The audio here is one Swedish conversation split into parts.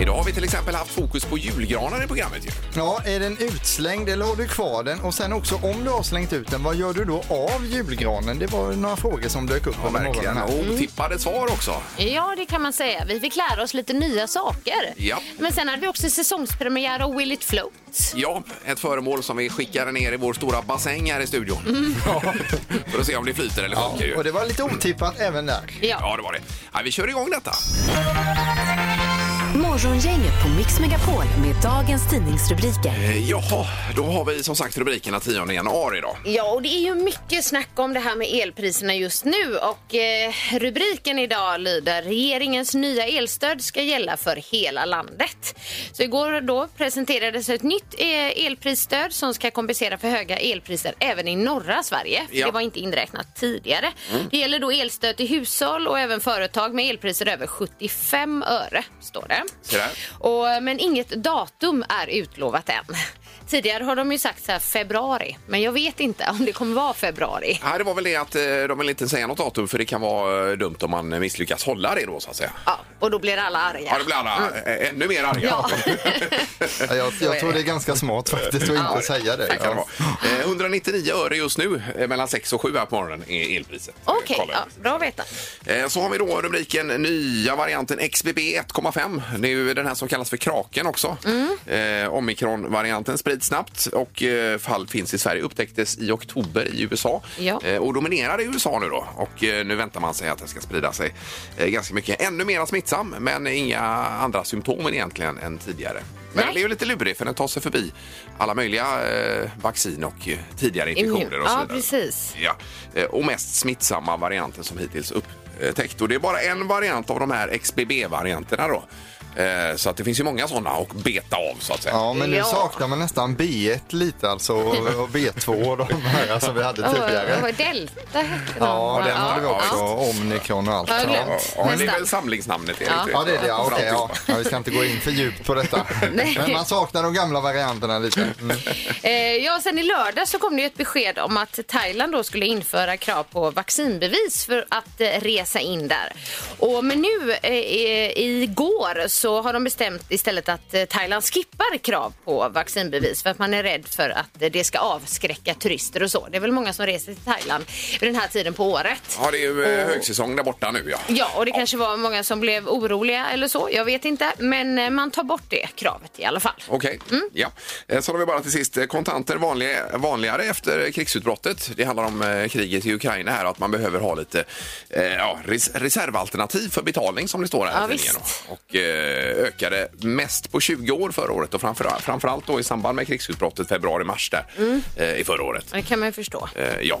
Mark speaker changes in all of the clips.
Speaker 1: Idag har vi till exempel haft fokus på julgranar i programmet ju.
Speaker 2: Ja, är den utslängd eller har du kvar den? Och sen också om du har slängt ut den, vad gör du då av julgranen? Det var några frågor som dök upp under morgonen.
Speaker 1: Verkligen.
Speaker 2: här.
Speaker 1: Och otippade svar också.
Speaker 3: Ja, det kan man säga. Vi fick lära oss lite nya saker.
Speaker 1: Ja.
Speaker 3: Men sen hade vi också säsongspremiär av Will It Float.
Speaker 1: Ja, ett föremål som vi skickade ner i vår stora bassäng här i studion. För att se om det flyter eller sjunker
Speaker 2: Och
Speaker 1: ju.
Speaker 2: det var lite otippat även där.
Speaker 3: Ja.
Speaker 1: Ja, det var det. Ja, vi kör igång detta.
Speaker 4: Morgongänget på Mix Megapol med dagens tidningsrubriker.
Speaker 1: Eh, Jaha, då har vi som sagt rubrikerna 10 januari idag.
Speaker 3: Ja, och det är ju mycket snack om det här med elpriserna just nu och eh, rubriken idag lyder Regeringens nya elstöd ska gälla för hela landet. Så igår då presenterades ett nytt eh, elprisstöd som ska kompensera för höga elpriser även i norra Sverige. För
Speaker 1: Ja. Mm.
Speaker 3: Det var inte inräknat tidigare. Det gäller då elstöd till hushåll och även företag med elpriser över 75 öre, står det.
Speaker 1: Så där.
Speaker 3: Och, eh, men inget datum är utlovat än. Tidigare har de ju sagt så här februari, men jag vet inte om det kommer vara februari.
Speaker 1: Nej, det var väl det att eh, de vill inte säga något datum för det kan vara eh, dumt om man misslyckas hålla det då så att säga.
Speaker 3: Ja, och då blir alla arga.
Speaker 1: Ja, det blir alla eh, ännu mer arga.
Speaker 3: Ja.
Speaker 2: Ja, Jag, jag tror det är ganska smart faktiskt att inte säga
Speaker 1: Det
Speaker 2: det.
Speaker 1: kan det vara. Eh, 199 öre just nu, eh, mellan 6 och 7 här på morgonen, är elpriset.
Speaker 3: Okej,
Speaker 1: Kollar jag.
Speaker 3: ja, bra att veta.
Speaker 1: Eh, Så har vi då rubriken nya varianten XBB 1,5. Det är ju den här som kallas för kraken också. Eh, Omikron-varianten sprids snabbt och eh, fall finns i Sverige. Upptäcktes i oktober i USA
Speaker 3: Ja.
Speaker 1: Eh, och dominerar i USA nu då. Och eh, nu väntar man sig att den ska sprida sig eh, ganska mycket. Ännu mer smittsam men inga andra symptom egentligen än tidigare. Men
Speaker 3: Nej.
Speaker 1: det är ju lite lurig för den tar sig förbi alla möjliga eh, vaccin och eh, tidigare infektioner och så
Speaker 3: Ja,
Speaker 1: vidare.
Speaker 3: precis.
Speaker 1: Ja, eh, och mest smittsamma varianten som hittills upptäckt. Och det är bara en variant av de här XBB-varianterna då. Eh, Så att det finns ju många sådana och beta av så att säga.
Speaker 2: Ja, men nu
Speaker 3: Ja.
Speaker 2: saknar man nästan B1 lite alltså och och B2 och de här alltså, vi hade
Speaker 3: Och,
Speaker 2: tidigare.
Speaker 3: och Delta hette
Speaker 2: Ja, den hade vi
Speaker 1: ja,
Speaker 2: också. Omnikron och allt.
Speaker 3: Ja,
Speaker 2: Ja,
Speaker 3: glömt.
Speaker 1: Ja, men det är
Speaker 3: Nästan.
Speaker 1: väl samlingsnamnet Erik?
Speaker 2: Ja, det är det. Ja, okej, ja.
Speaker 1: Framtidsbarn.
Speaker 2: Ja, vi ska inte gå in för djupt på detta. Men man saknar de gamla varianterna lite. Mm.
Speaker 3: Eh, ja, sen i lördag så kom det ju ett besked om att Thailand då skulle införa krav på vaccinbevis för att eh, resa in där. Och, men nu eh, eh, igår så har de bestämt istället att eh, Thailand skippar krav på vaccinbevis för att man är rädd för att eh, det ska avskräcka turister och så. Det är väl många som reser till Thailand vid den här tiden på året.
Speaker 1: Ja, det är ju eh, högsäsong där borta nu ja.
Speaker 3: Ja, och det kanske var många som blev oroliga eller så. Jag vet inte, men eh, man tar bort det kravet i alla fall.
Speaker 1: Okej, ja. Eh, Så har vi bara till sist eh, kontanter vanliga, vanligare efter krigsutbrottet. Det handlar om eh, kriget i Ukraina här och att man behöver ha lite eh, ja, res reservalternativ för betalning som det står här
Speaker 3: Ja,
Speaker 1: i tidningen.
Speaker 3: visst.
Speaker 1: då. Och eh, ökade mest på 20 år förra året och framför, framförallt då i samband med krigsutbrottet februari-mars där eh, i förra året.
Speaker 3: Det kan man ju förstå.
Speaker 1: Eh, ja.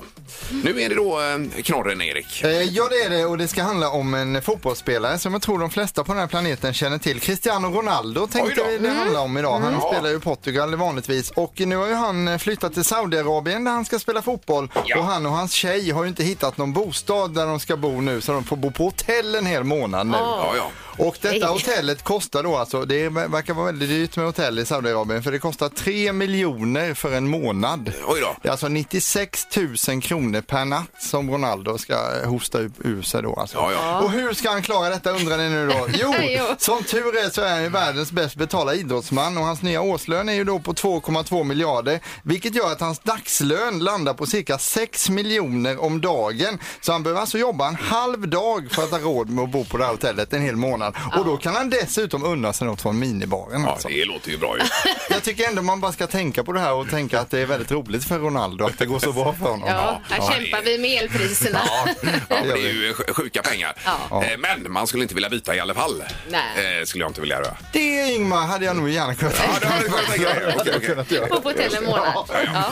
Speaker 1: Nu är det då eh, knorren Erik.
Speaker 2: Eh, Ja, det är det och det ska handla om en fotbollsspelare som jag tror de flesta på den här planeten känner till. Cristiano Ronaldo tänkte
Speaker 1: Oj
Speaker 2: vi
Speaker 1: då. Mm.
Speaker 2: det handla om idag. Han
Speaker 1: Ja.
Speaker 2: spelar ju i Portugal vanligtvis och nu har ju han eh, flyttat till Saudiarabien där han ska spela fotboll
Speaker 1: Ja.
Speaker 2: och han och hans tjej har ju inte hittat någon bostad där de ska bo nu så de får bo på hotell en hel månad nu.
Speaker 1: Ja, ja.
Speaker 2: Och detta
Speaker 3: Nej.
Speaker 2: hotellet kostar då alltså, det verkar vara väldigt dyrt med hotell i Saudiarabien för det kostar 3 miljoner för en månad.
Speaker 1: Oj då.
Speaker 2: Det är alltså 96 000 kronor per natt som Ronaldo ska eh, hosta upp ur sig då alltså.
Speaker 1: Ja, ja.
Speaker 2: Och hur ska han klara detta undrar ni nu då? Jo,
Speaker 3: Jo.
Speaker 2: som tur är så är han ju världens bäst betalda idrottsman och hans nya årslön är ju då på 2,2 miljarder vilket gör att hans dagslön landar på cirka 6 miljoner om dagen. Så han behöver alltså jobba en halv dag för att ha råd med att bo på det här hotellet en hel månad. Och då kan han dessutom unna sig något från minibaren
Speaker 1: Ja,
Speaker 2: alltså.
Speaker 1: det låter ju bra ju.
Speaker 2: Jag tycker ändå man bara ska tänka på det här och tänka att det är väldigt roligt för Ronaldo att det går så bra för honom.
Speaker 3: Ja, här
Speaker 1: ja,
Speaker 3: kämpar
Speaker 1: det-
Speaker 3: vi med elpriserna.
Speaker 1: Ja, men det är ju sj- sjuka pengar.
Speaker 3: Ja.
Speaker 1: Eh, Men man skulle inte vilja byta i alla fall.
Speaker 3: Nej.
Speaker 1: Eh, Skulle jag inte vilja göra.
Speaker 2: Det Ingmar hade jag nog gärna kunnat
Speaker 1: Ja, det har du kunnat tänka dig. Okej, okej.
Speaker 3: Bo på hotell en månad. Ja.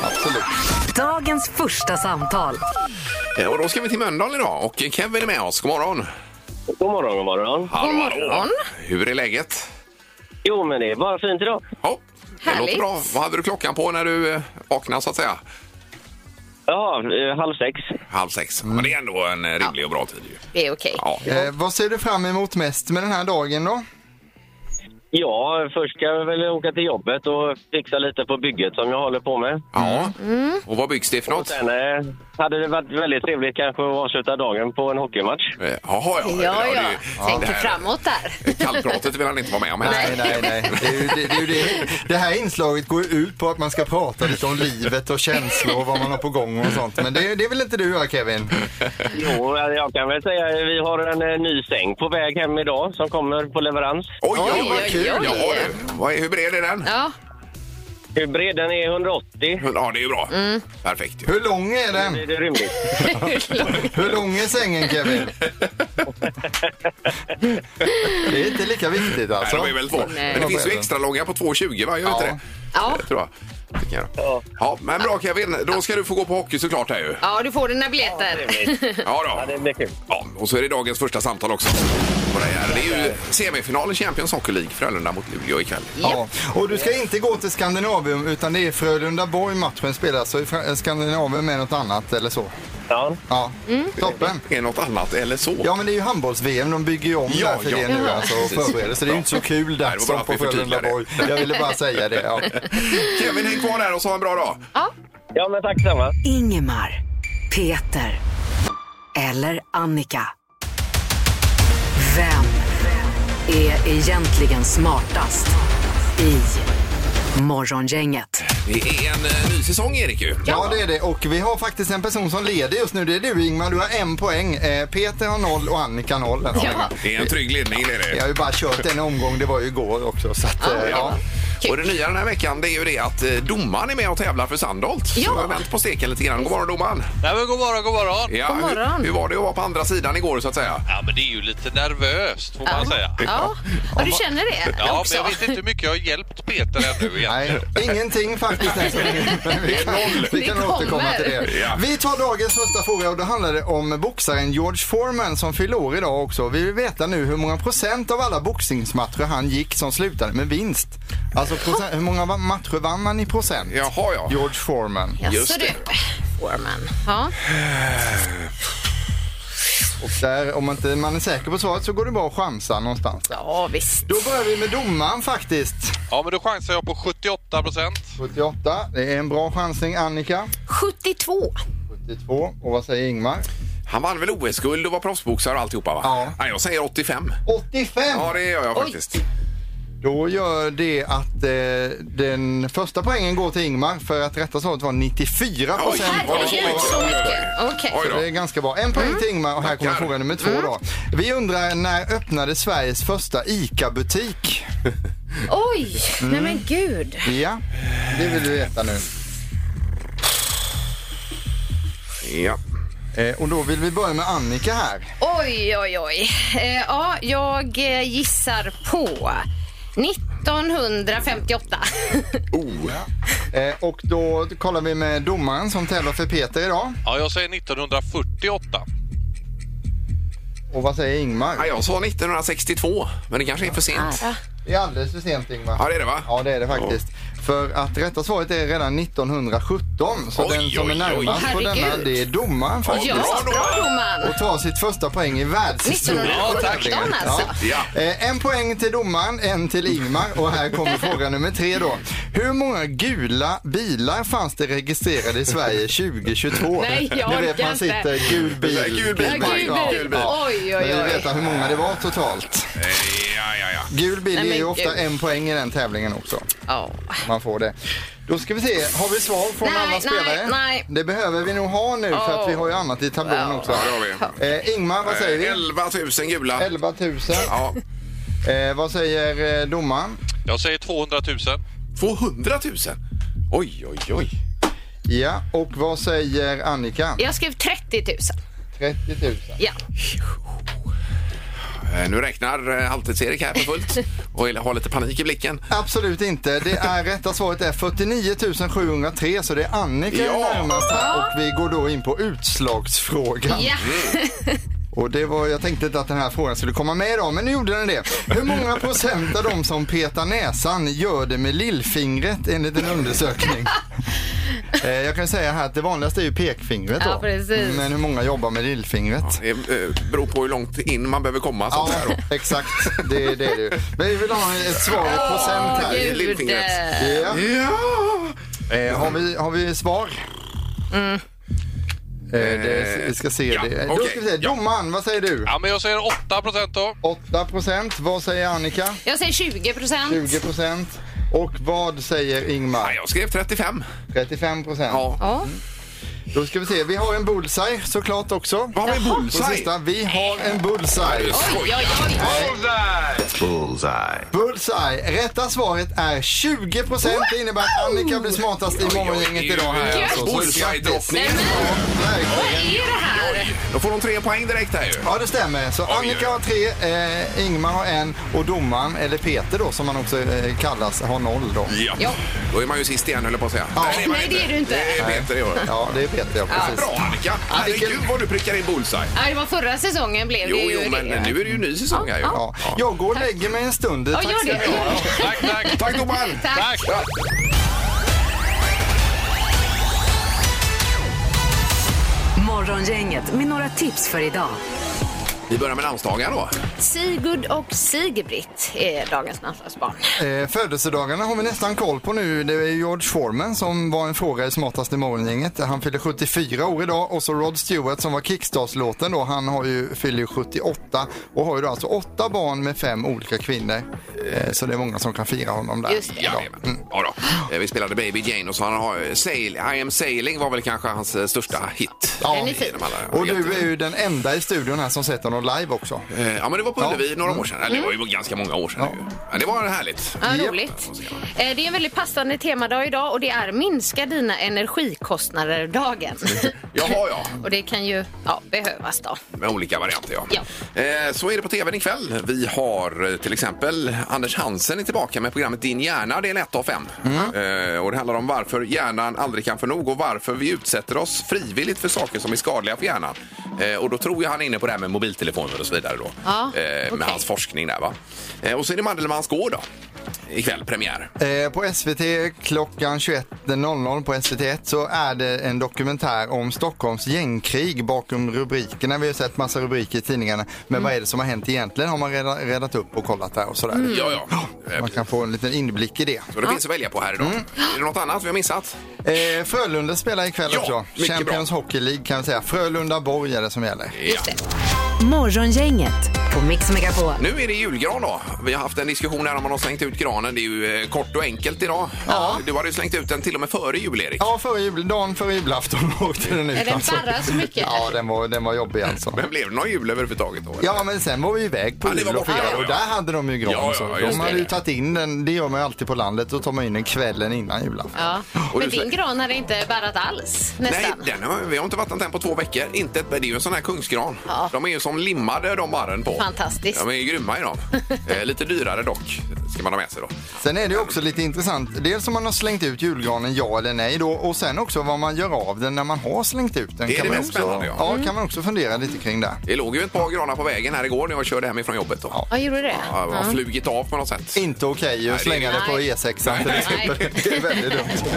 Speaker 4: Dagens första samtal.
Speaker 1: Eh, Och då ska vi till Mölndal idag och Kevin är med oss. God morgon!
Speaker 5: God morgon, god morgon.
Speaker 1: Hallå,
Speaker 3: God morgon.
Speaker 1: hallå. Hur är läget?
Speaker 5: Jo, men det är bara fint idag.
Speaker 1: Ja, det
Speaker 3: Härligt.
Speaker 1: låter bra. Vad hade du klockan på när du eh, vaknade så att säga?
Speaker 5: Jaha, eh, halv sex.
Speaker 1: Halv sex. Men det är ändå en eh, rimlig och bra tid ju.
Speaker 3: Det är okej.
Speaker 1: Ja.
Speaker 2: Eh, vad ser du fram emot mest med den här dagen då?
Speaker 5: Ja, först ska jag väl åka till jobbet och fixa lite på bygget som jag håller på med.
Speaker 1: Ja.
Speaker 3: Mm.
Speaker 1: Och vad byggs det för
Speaker 5: Och
Speaker 1: något?
Speaker 5: sen eh, hade det varit väldigt trevligt kanske att avsluta dagen på en hockeymatch.
Speaker 1: Eh, Jaha, ja.
Speaker 3: Ja,
Speaker 1: det är
Speaker 3: ja.
Speaker 1: ju- det
Speaker 3: Tänker
Speaker 1: här-
Speaker 3: framåt där.
Speaker 1: Kallpratet vill han inte vara med om.
Speaker 2: Nej, nej, nej. Det, är ju, det, det, är ju det. det här inslaget går ju ut på att man ska prata lite om livet och känslor och vad man har på gång och sånt. Men det, det vill inte du göra Kevin?
Speaker 5: Jo, eh, jag kan väl säga att vi har en eh, ny säng på väg hem idag som kommer på leverans.
Speaker 1: Oj, oj,
Speaker 3: Oj,
Speaker 1: vad
Speaker 3: oj, oj.
Speaker 1: kul! Jaha, du. Vad är- Hur bred är den?
Speaker 3: Ja.
Speaker 5: Hur bred den är 180.
Speaker 1: Ja, det är ju bra.
Speaker 3: Mm.
Speaker 1: Perfekt ju.
Speaker 2: Hur lång är
Speaker 5: Är
Speaker 2: den?
Speaker 5: det rimligt?
Speaker 2: Hur lång är sängen Kevin? Det är inte lika viktigt
Speaker 1: Nej,
Speaker 2: alltså.
Speaker 1: de är väl två.
Speaker 3: Nej.
Speaker 1: Men det finns ju extra långa på 2,20 va? Gör
Speaker 2: Ja.
Speaker 1: inte det?
Speaker 3: Ja.
Speaker 1: Tror jag. Det kan jag. Ja, men bra Kevin, då ska du få gå på hockey såklart här ju.
Speaker 3: ja, du får dina biljetter.
Speaker 1: Ja
Speaker 5: Ja,
Speaker 1: då.
Speaker 5: det blir kul.
Speaker 1: Ja, och så är det dagens första samtal också. På det, här. det är ju semifinal i Champions Hockey League, Frölunda mot Luleå ikväll.
Speaker 2: Ja. Och du ska inte gå till Skandinavium utan det är Frölunda-Borg matchen spelas. Så är Fra- Skandinavium är något annat eller så.
Speaker 5: Ja.
Speaker 2: Ja, toppen.
Speaker 1: Är det något annat eller så?
Speaker 2: Ja men det är ju handbolls-VM, de bygger ju om
Speaker 1: Ja,
Speaker 2: där för
Speaker 1: ja.
Speaker 2: det nu alltså och
Speaker 1: Precis.
Speaker 2: förbereder så det är ju inte så kul där
Speaker 1: det var bra
Speaker 2: som
Speaker 1: att
Speaker 2: på
Speaker 1: vi förtydligade det.
Speaker 2: Frölunda-Borg. Jag ville bara säga det. Ja.
Speaker 1: Kevin, häng kvar där och så ha en bra dag.
Speaker 3: Ja.
Speaker 5: ja, men tack samma.
Speaker 4: Ingemar, Peter eller Annika. Vem är egentligen smartast i Morgongänget?
Speaker 1: Det är en eh, ny säsong Erik ju.
Speaker 2: Ja det är det och vi har faktiskt en person som leder just nu. Det är du Ingmar, du har en poäng. Eh, Peter har noll och Annika noll. än så länge.
Speaker 1: Det är en trygg ledning det är det.
Speaker 2: Jag har ju bara kört en omgång, det var ju igår också. Så att, eh, ja.
Speaker 3: Kul.
Speaker 1: Och det nya den här veckan det är ju det att eh, domaren är med och tävlar för Sandholt. Så
Speaker 3: Ja.
Speaker 1: jag har vänt på steken lite grann. God morgon domaren!
Speaker 6: Nej, men god morgon, god morgon.
Speaker 1: Ja,
Speaker 3: God morgon.
Speaker 1: Hur, hur var det att vara på andra sidan igår så att säga?
Speaker 6: Ja, men det är ju lite nervöst får man säga.
Speaker 3: Ja. ja, du känner det
Speaker 6: Ja,
Speaker 3: också?
Speaker 6: men jag vet inte hur mycket jag har hjälpt Peter ännu
Speaker 2: Nej,
Speaker 6: egentligen.
Speaker 2: ingenting faktiskt än så länge, men vi kan, vi
Speaker 3: Det
Speaker 2: kan
Speaker 3: kommer.
Speaker 2: återkomma till det.
Speaker 1: Ja.
Speaker 2: Vi tar dagens första fråga och då handlar det om boxaren George Foreman som fyller år idag också. Vi vill veta nu hur många procent av alla boxningsmatcher han gick som slutade med vinst. Alltså procent, hur många va- matcher vann han i procent?
Speaker 1: Jaha ja.
Speaker 2: George Foreman.
Speaker 3: Jaså,
Speaker 1: just det.
Speaker 3: du. Foreman. Ja.
Speaker 2: Och där, om inte man är säker på svaret så går det bra att chansa någonstans.
Speaker 3: ja, visst.
Speaker 2: Då börjar vi med domaren faktiskt.
Speaker 6: Ja, men då chansar jag på 78 procent.
Speaker 2: 78, det är en bra chansning Annika.
Speaker 3: 72.
Speaker 2: 72, och vad säger Ingmar?
Speaker 1: Han vann väl OS-guld och var proffsboxare och alltihopa va?
Speaker 2: Ja.
Speaker 1: Nej, jag säger 85.
Speaker 2: 85!
Speaker 1: Ja det gör jag
Speaker 3: Oj.
Speaker 1: faktiskt.
Speaker 2: Då gör det att eh, den första poängen går till Ingmar för att rätta svaret var 94
Speaker 1: Oj,
Speaker 2: procent.
Speaker 1: vad det
Speaker 3: Herregud, så mycket. Okej.
Speaker 1: Oj
Speaker 2: Det är
Speaker 1: då.
Speaker 2: ganska bra. En poäng till Ingmar och här kommer
Speaker 1: Tackar. Mm.
Speaker 2: fråga nummer två då. Vi undrar när öppnade Sveriges första ICA-butik?
Speaker 3: Oj, nej
Speaker 1: Mm.
Speaker 3: men gud.
Speaker 2: Ja, det vill vi veta nu.
Speaker 1: Ja.
Speaker 2: Eh, och då vill vi börja med Annika här.
Speaker 3: Oj, oj, oj. Eh, ja, jag eh, gissar på 1958.
Speaker 1: Oh.
Speaker 2: Eh, och då kollar vi med domaren som tävlar för Peter idag.
Speaker 6: Ja, jag säger 1948.
Speaker 2: Och vad säger Ingmar?
Speaker 1: Nej, jag sa 1962, men det kanske är för sent.
Speaker 2: Det är alldeles för sent Ingmar.
Speaker 1: Ja det är det va?
Speaker 2: Ja, det är det faktiskt. För att rätta svaret är redan 1917. Så
Speaker 1: Oj,
Speaker 2: den som är
Speaker 1: oj,
Speaker 2: närmast
Speaker 3: oj.
Speaker 2: på denna
Speaker 3: Herregud.
Speaker 2: det är domaren faktiskt.
Speaker 3: ja, bra domaren.
Speaker 2: Och tar sitt första poäng i världshistorien.
Speaker 3: 1917 alltså.
Speaker 1: Ja.
Speaker 2: Eh, En poäng till domaren, en till Ingmar och här kommer fråga nummer tre då. Hur många gula bilar fanns det registrerade i Sverige 2022?
Speaker 3: Nej, jag
Speaker 2: Ni vet
Speaker 3: orkar
Speaker 2: man
Speaker 3: inte.
Speaker 2: sitter gul bil.
Speaker 1: Gul bil,
Speaker 3: Ja, gul
Speaker 1: ja,
Speaker 3: bil.
Speaker 1: gul bil.
Speaker 3: Oj, oj,
Speaker 2: Men vi
Speaker 3: oj.
Speaker 2: vill veta hur många det var totalt.
Speaker 1: Eh, Ja, ja, ja.
Speaker 2: Gul bil
Speaker 3: Nej, men
Speaker 2: ger ju ofta
Speaker 3: gud.
Speaker 2: en poäng i den tävlingen också.
Speaker 3: Ja.
Speaker 2: man får det. Då ska vi se, har vi svar från
Speaker 3: Nej,
Speaker 2: alla
Speaker 3: nej,
Speaker 2: spelare?
Speaker 3: nej.
Speaker 2: Det behöver vi nog ha nu för att vi har ju annat i tablån också.
Speaker 1: Ja, det har vi.
Speaker 2: Eh, Ingmar, vad säger
Speaker 1: Eh,
Speaker 2: vi?
Speaker 1: 11 000 gula.
Speaker 2: 11 000.
Speaker 1: Ja.
Speaker 2: Eh, vad säger eh, domaren?
Speaker 6: Jag säger 200 000.
Speaker 1: 200 000? Oj, oj, oj.
Speaker 2: Ja, och vad säger Annika?
Speaker 3: Jag skrev 30 000.
Speaker 2: 30 000.
Speaker 3: Ja.
Speaker 1: Eh, Nu räknar eh, Halvtids-Erik här på fullt och vill- har lite panik i blicken.
Speaker 2: Absolut inte. Det är rätta svaret är 49 703 så det är Annika
Speaker 1: Ja.
Speaker 2: närmast här och vi går då in på utslagsfrågan.
Speaker 3: ja.
Speaker 2: Och det var, jag tänkte inte att den här frågan skulle komma med idag, men nu gjorde den det. Hur många procent av de som petar näsan gör det med lillfingret enligt en undersökning? Eh, Jag kan säga här att det vanligaste är ju pekfingret
Speaker 3: Ja,
Speaker 2: då.
Speaker 3: precis.
Speaker 2: Men hur många jobbar med lillfingret?
Speaker 1: Det eh, beror på hur långt in man behöver komma.
Speaker 2: Ja,
Speaker 1: Sånt här då.
Speaker 2: exakt. Det är det är det. Men vi vill ha ett svar i procent här.
Speaker 1: i
Speaker 3: Gud.
Speaker 1: lillfingret.
Speaker 2: Ja.
Speaker 1: Ja!
Speaker 2: Eh, har, vi, har vi svar?
Speaker 3: Mm.
Speaker 2: Eh, det, vi ska se.
Speaker 1: Ja,
Speaker 2: det. Eh, Då
Speaker 1: okej,
Speaker 2: ska vi se.
Speaker 1: ja.
Speaker 2: Domaren, vad säger du?
Speaker 6: Ja, men jag säger 8 procent då.
Speaker 2: 8 procent. Vad säger Annika?
Speaker 3: Jag säger 20 procent.
Speaker 2: 20 procent. Och vad säger
Speaker 1: Nej,
Speaker 2: Ingmar?
Speaker 1: jag skrev 35.
Speaker 2: 35 procent.
Speaker 1: Ja.
Speaker 3: Ja.
Speaker 2: Då ska vi se. Vi har en bullseye såklart också.
Speaker 1: Vad har vi
Speaker 2: På
Speaker 1: bullseye?
Speaker 2: sista, vi har en bullseye.
Speaker 3: Oj, oj, oj.
Speaker 2: Bullseye. Rätta svaret är 20 procent. Det innebär att Annika blir smartast i morgongänget idag. här. alltså. Så
Speaker 1: Bullseye-drottningen.
Speaker 2: Verkligen.
Speaker 3: Vad är det här?
Speaker 1: Då får de tre poäng direkt här ju.
Speaker 2: Ja, det stämmer. Så Annika har tre, eh, Ingmar har en och domaren, eller Peter då som han också eh, kallas, har noll då.
Speaker 1: Ja. Då är man ju sist igen höll jag på att säga. man
Speaker 3: Nej, det är du inte.
Speaker 1: Det är Peter det gör. det.
Speaker 2: Ja, det är Peter, ja, precis.
Speaker 1: Bra Annika! Herregud vad du prickar in bullseye.
Speaker 3: Ja, det var förra säsongen blev
Speaker 1: Jo,
Speaker 3: det ju
Speaker 1: jo, men
Speaker 3: det.
Speaker 1: nu är det ju ny säsong här ju.
Speaker 2: Ja. Jag går och lägger mig en stund.
Speaker 3: Ja, gör det.
Speaker 6: Tack, tack.
Speaker 1: Tack domaren!
Speaker 3: Tack.
Speaker 1: Ja.
Speaker 4: Morgongänget med några tips för idag.
Speaker 1: Vi börjar med namnsdagar då.
Speaker 3: Sigurd och Sigbritt är dagens namnsdagsbarn.
Speaker 2: Eh, födelsedagarna har vi nästan koll på nu. Det är George Foreman som var en fråga i Smartast i morgongänget. Han fyller 74 år idag och så Rod Stewart som var Kickstars-låten då. Han har ju, fyller ju 78 och har ju då alltså åtta barn med fem olika kvinnor. Eh, så det är många som kan fira honom där.
Speaker 3: Just det. Mm.
Speaker 2: idag.
Speaker 1: Ja, ja då. Eh, Vi spelade Baby Jane och så han har sail, I am sailing var väl kanske hans eh, största hit.
Speaker 2: Ja.
Speaker 3: Den är fin.
Speaker 1: Genom alla-
Speaker 2: Och du är ju den enda i studion här som sett honom live också.
Speaker 1: Eh, Ja men det var på
Speaker 2: Ja.
Speaker 1: Ullevi några år sedan. Eller, det var ju ganska många år sedan.
Speaker 2: Ja.
Speaker 1: ju. Men det var härligt.
Speaker 3: Ja,
Speaker 2: Japp.
Speaker 3: roligt. Eh, Det är en väldigt passande temadag idag och det är minska dina energikostnader-dagen.
Speaker 1: Jaha ja,
Speaker 3: och det kan ju ja, behövas då.
Speaker 1: med olika varianter ja.
Speaker 3: Ja.
Speaker 1: Eh, Så är det på tvn ikväll. Vi har eh, till exempel Anders Hansen är tillbaka med programmet Din hjärna del 1 av 5. Eh, Och det handlar om varför hjärnan aldrig kan få nog och varför vi utsätter oss frivilligt för saker som är skadliga för hjärnan. Eh, Och då tror jag han är inne på det här med mobiltelefoner och så vidare då.
Speaker 3: Ja,
Speaker 1: Eh, Med
Speaker 3: okej.
Speaker 1: hans forskning där va. Eh, Och så är det Mandelmanns gård då. Ikväll premiär.
Speaker 2: Eh, På SVT klockan 21.00 på SVT1 så är det en dokumentär om Stockholms gängkrig bakom rubrikerna. Vi har sett massa rubriker i tidningarna. Men vad är det som har hänt egentligen har man reda- redat upp och kollat där och sådär.
Speaker 1: Ja, ja. Eh,
Speaker 2: Man kan få en liten inblick i det.
Speaker 1: Så det finns att välja på här
Speaker 3: Mm.
Speaker 1: idag. Är det något annat vi har missat?
Speaker 2: Eh, Frölunda spelar ikväll
Speaker 1: Ja,
Speaker 2: också.
Speaker 1: mycket bra.
Speaker 2: Champions Hockey League kan vi säga. Frölunda-Borg är det som gäller.
Speaker 3: Just det.
Speaker 4: Morgongänget på Mix Megapol.
Speaker 1: Nu är det julgran då. Vi har haft en diskussion här om man har slängt ut granen. Det är ju eh, kort och enkelt idag. Du hade ju slängt ut den till och med före jul, Erik.
Speaker 2: Ja, före jul, dagen före julafton åkte den ut. alltså.
Speaker 3: Är den barrar så mycket?
Speaker 2: Ja, den var, den var jobbig alltså.
Speaker 1: Men blev det någon jul överhuvudtaget då? eller?
Speaker 2: Ja, men sen var vi iväg på
Speaker 1: Ja, det
Speaker 2: jul
Speaker 1: var
Speaker 2: och
Speaker 1: borta,
Speaker 2: firade
Speaker 1: ja,
Speaker 2: och
Speaker 1: ja.
Speaker 2: där hade de ju gran.
Speaker 1: Ja, ja,
Speaker 2: så.
Speaker 1: just
Speaker 2: De hade
Speaker 1: det.
Speaker 2: ju tagit in den, det gör man ju alltid på landet, och tar man in den kvällen innan julafton.
Speaker 3: Ja.
Speaker 1: Och
Speaker 3: Men
Speaker 1: du slä-
Speaker 3: din gran hade inte bärat alls
Speaker 1: Nej,
Speaker 3: nästan.
Speaker 1: den har, vi har inte vattnat den på två veckor. Inte ett, det är ju en sån här kungsgran.
Speaker 3: Ja.
Speaker 1: De är ju som limmade de barren på.
Speaker 3: Fantastiskt.
Speaker 1: De är ju grymma i dem. eh, lite dyrare dock, ska man ha med sig då.
Speaker 2: Sen är det ju också lite intressant, dels om man har slängt ut julgranen, ja eller nej då, och sen också vad man gör av den när man har slängt ut den.
Speaker 1: Det är det
Speaker 2: man
Speaker 1: mest
Speaker 2: också,
Speaker 1: spännande, ja. Mm.
Speaker 2: ja. kan man också fundera lite kring där.
Speaker 1: Det låg ju ett par granar på vägen här igår när jag körde hemifrån jobbet. Då. Ja.
Speaker 3: Ja, Mm. gjorde du det?
Speaker 1: har flugit av på något sätt.
Speaker 2: Inte okej
Speaker 1: det är
Speaker 2: att slänga
Speaker 1: det
Speaker 2: det på E6 till exempel.
Speaker 3: Nej.
Speaker 2: Det är väldigt dumt.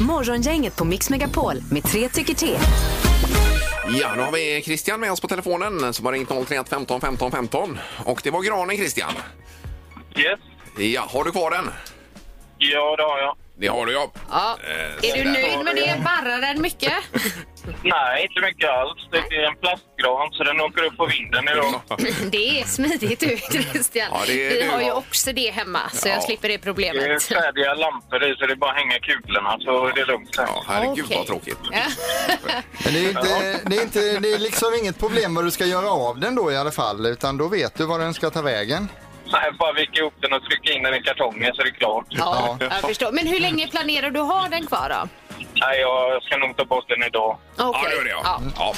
Speaker 4: Morgongänget på Mix Megapol med tre tycker till.
Speaker 1: Ja, nu har vi Christian med oss på telefonen som har ringt 031 15 15 15. Och det var granen Christian.
Speaker 5: Yes.
Speaker 1: Ja, har du kvar den?
Speaker 5: Ja, det har jag.
Speaker 1: Det har du ja.
Speaker 3: Ja.
Speaker 1: Eh,
Speaker 3: Är du
Speaker 1: sådär.
Speaker 3: nöjd med det? Barrar den mycket?
Speaker 5: Nej, inte mycket alls. Det är en plastgran så den åker upp på vinden
Speaker 1: Mm.
Speaker 5: idag.
Speaker 3: Det är smidigt du Christian.
Speaker 1: Ja, det är
Speaker 3: Vi
Speaker 1: du,
Speaker 3: har ju
Speaker 1: ja.
Speaker 3: också det hemma så
Speaker 1: Ja.
Speaker 3: jag slipper det
Speaker 5: Det är
Speaker 3: problemet.
Speaker 5: färdiga lampor i så det är bara att hänga kulorna så är det lugnt sen.
Speaker 1: Ja, herregud
Speaker 3: Okej.
Speaker 1: vad tråkigt.
Speaker 3: Ja.
Speaker 2: Men det är, inte, det, är inte, det är liksom inget problem vad du ska göra av den då i alla fall, utan då vet du var den ska ta vägen.
Speaker 5: Nej, bara vika ihop den och trycka in den i kartongen så är det klart.
Speaker 3: Ja, jag förstår. Men hur länge planerar du ha den kvar då?
Speaker 5: Nej, jag ska nog ta bort den idag.
Speaker 3: Okej.
Speaker 1: Ja, det gör det ja. ja.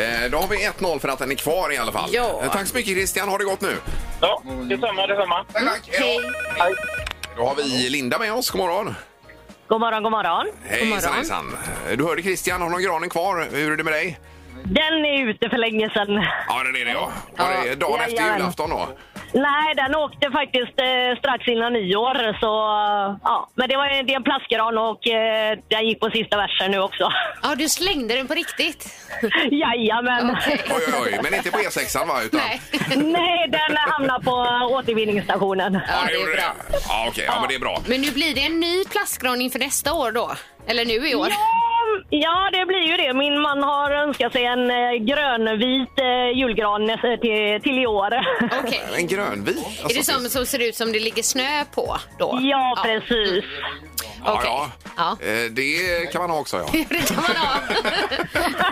Speaker 1: Eh, Då har vi 1-0 för att den är kvar i alla fall.
Speaker 3: Ja.
Speaker 1: Eh, Tack så mycket Christian, ha det gott nu.
Speaker 5: Ja, detsamma, detsamma.
Speaker 1: Tack, tack.
Speaker 3: Mm,
Speaker 1: Hej.
Speaker 5: Hej.
Speaker 1: Då har vi Linda med oss, god morgon.
Speaker 7: God morgon, god morgon.
Speaker 1: Hejsan hejsan. Eh, Du hörde Christian, har någon granen kvar? Hur är det med dig?
Speaker 7: Den är ute för länge sedan.
Speaker 1: Ja, det är det ja. Var det dagen efter
Speaker 7: Jajamän.
Speaker 1: julafton då?
Speaker 7: Nej, den åkte faktiskt eh, strax innan nyår. Så, eh, ja. Men det, var, en- det är en plastgran och eh, den gick på sista versen nu också.
Speaker 3: Ja, du slängde den på riktigt.
Speaker 7: Jajamän.
Speaker 1: Oj, oj, oj. Men inte på E6 va? Utan...
Speaker 3: Nej.
Speaker 7: Nej, den hamnar på återvinningsstationen.
Speaker 3: Ja, det är
Speaker 1: gjorde
Speaker 3: bra.
Speaker 1: Ja, okej. Ja, men det är bra.
Speaker 3: Men nu blir det en ny plastgran inför nästa år då. Eller nu i år.
Speaker 7: Ja, Ja, det blir ju det. Min man har önskat sig en eh, grönvit eh, julgran nästa- till, till i år.
Speaker 3: Okej.
Speaker 1: En grönvit? Alltså,
Speaker 3: Är det som, som ser ut som det ligger snö på då?
Speaker 7: Ja, precis.
Speaker 1: Ja,
Speaker 3: Okej.
Speaker 1: ja.
Speaker 3: Ja.
Speaker 1: Eh, Det kan man ha också, ja.
Speaker 3: Det kan man ha.
Speaker 1: ja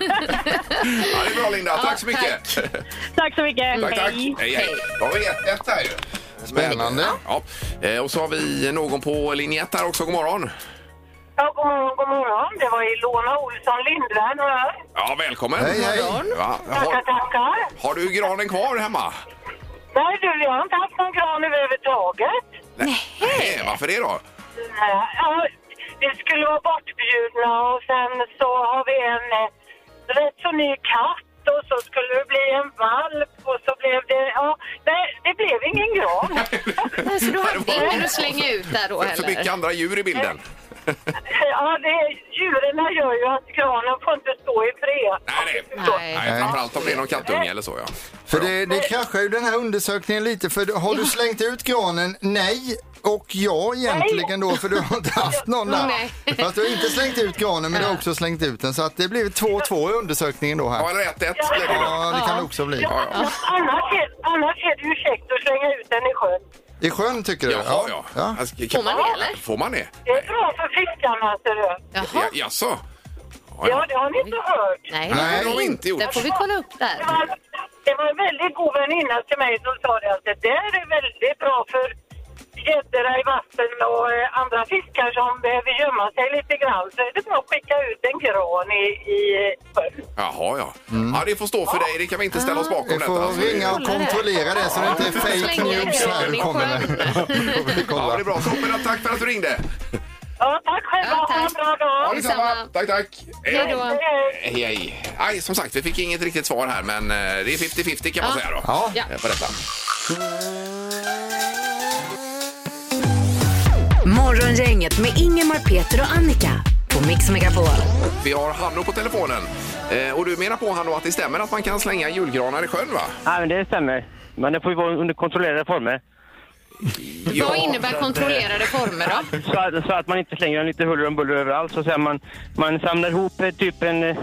Speaker 1: det är bra, Linda. Tack så mycket.
Speaker 7: Tack så mycket.
Speaker 1: Tack, tack.
Speaker 7: Hej.
Speaker 1: Hej, hej. Då har vi ett, ett här ju.
Speaker 2: Spännande.
Speaker 1: Ja. Eh, Och så har vi någon på linje ett här också. God morgon.
Speaker 8: Ja, god morgon, god morgon. Det var Ilona Olsson Lindvall här.
Speaker 1: Ja, välkommen.
Speaker 2: Hej, hej.
Speaker 1: Ja,
Speaker 8: Tackar,
Speaker 1: har,
Speaker 8: tackar.
Speaker 1: har du granen kvar hemma?
Speaker 8: Nej du, jag har inte haft någon gran överhuvudtaget.
Speaker 1: Nej. Varför det då?
Speaker 8: Nej, Ja, vi skulle vara bortbjudna och sen så har vi en eh, rätt så ny katt och så skulle det bli en valp och så blev det... Ja, nej, det blev ingen gran.
Speaker 3: Så du
Speaker 1: Det var-
Speaker 3: hade ingen att slänga ut där då
Speaker 1: För, för mycket
Speaker 3: heller?
Speaker 1: andra djur i bilden.
Speaker 8: Ja, det, djuren gör ju att granen får inte stå i fred.
Speaker 1: Nej, nej.
Speaker 3: Nej.
Speaker 1: nej. Framförallt om det är någon kattunge eller så, ja.
Speaker 2: För det, det kraschar ju den här undersökningen lite. För har du slängt ut granen? Nej. Och ja egentligen då, för du har inte haft någon där.
Speaker 3: Nej.
Speaker 2: Fast du har inte slängt ut granen, men du har också slängt ut den. Så att det blev 2-2 i undersökningen då
Speaker 1: Ja,
Speaker 2: här.
Speaker 1: eller ett, ett blir det då.
Speaker 2: Ja, det kan det också bli.
Speaker 1: Ja, ja.
Speaker 8: Annars är, annars är det ju käckt att slänga ut den i sjön.
Speaker 2: I sjön tycker du?
Speaker 1: Jaha, ja. Alltså, kan-
Speaker 3: Får man det, eller?
Speaker 1: Får man det?
Speaker 8: Det är bra för fiskarna, ser du.
Speaker 1: Ja,
Speaker 3: Jaha.
Speaker 1: jaså?
Speaker 8: Ja, det har ni inte hört.
Speaker 3: Nej,
Speaker 1: Nej,
Speaker 3: det har vi inte gjort. Det får vi kolla upp
Speaker 8: Det
Speaker 3: där.
Speaker 8: var, det var en väldigt god väninna till mig som sa det att det där är väldigt bra för gäddorna i vassen och eh, andra fiskar som behöver gömma sig lite grann. Så är det bra att skicka ut en gran i, i eh, sjön.
Speaker 1: Jaha, ja.
Speaker 3: Mm.
Speaker 1: Ja, det får stå för dig. Det kan vi inte ställa oss bakom
Speaker 2: Vi
Speaker 1: detta.
Speaker 2: får
Speaker 1: alltså.
Speaker 2: ringa och kontrollera det så det inte är fake
Speaker 3: Släng ner
Speaker 2: news här
Speaker 3: granen
Speaker 2: du
Speaker 3: i
Speaker 2: kommer med.
Speaker 3: sjön.
Speaker 2: Då får vi
Speaker 1: Ja,
Speaker 2: kolla.
Speaker 1: det är bra. Toppen, tack för att du ringde.
Speaker 8: Ja, tack själva.
Speaker 3: Ja, tack.
Speaker 8: Ha en bra dag.
Speaker 1: Ja, detsamma.
Speaker 3: Detsamma.
Speaker 1: Tack, tack.
Speaker 3: Hej då.
Speaker 8: Hej.
Speaker 1: Hej, hej. Aj, som sagt, vi fick inget riktigt svar här, men eh, det är 50-50 kan man
Speaker 3: Ja.
Speaker 1: säga då.
Speaker 2: Ja.
Speaker 3: Ja.
Speaker 1: Eh, På detta.
Speaker 4: Morgongänget med Ingemar, Peter och Annika på Mix Megapol.
Speaker 1: Vi har Hanno på telefonen. Eh, och du menar på Hanno att det stämmer att man kan slänga julgranar i sjön, va?
Speaker 5: Nej, men det stämmer. Men det får ju vara under kontrollerade former.
Speaker 3: Vad innebär kontrollerade former då?
Speaker 5: Så att, så att man inte slänger den lite huller om buller överallt. Så sen man, man samlar ihop eh, typ en eh,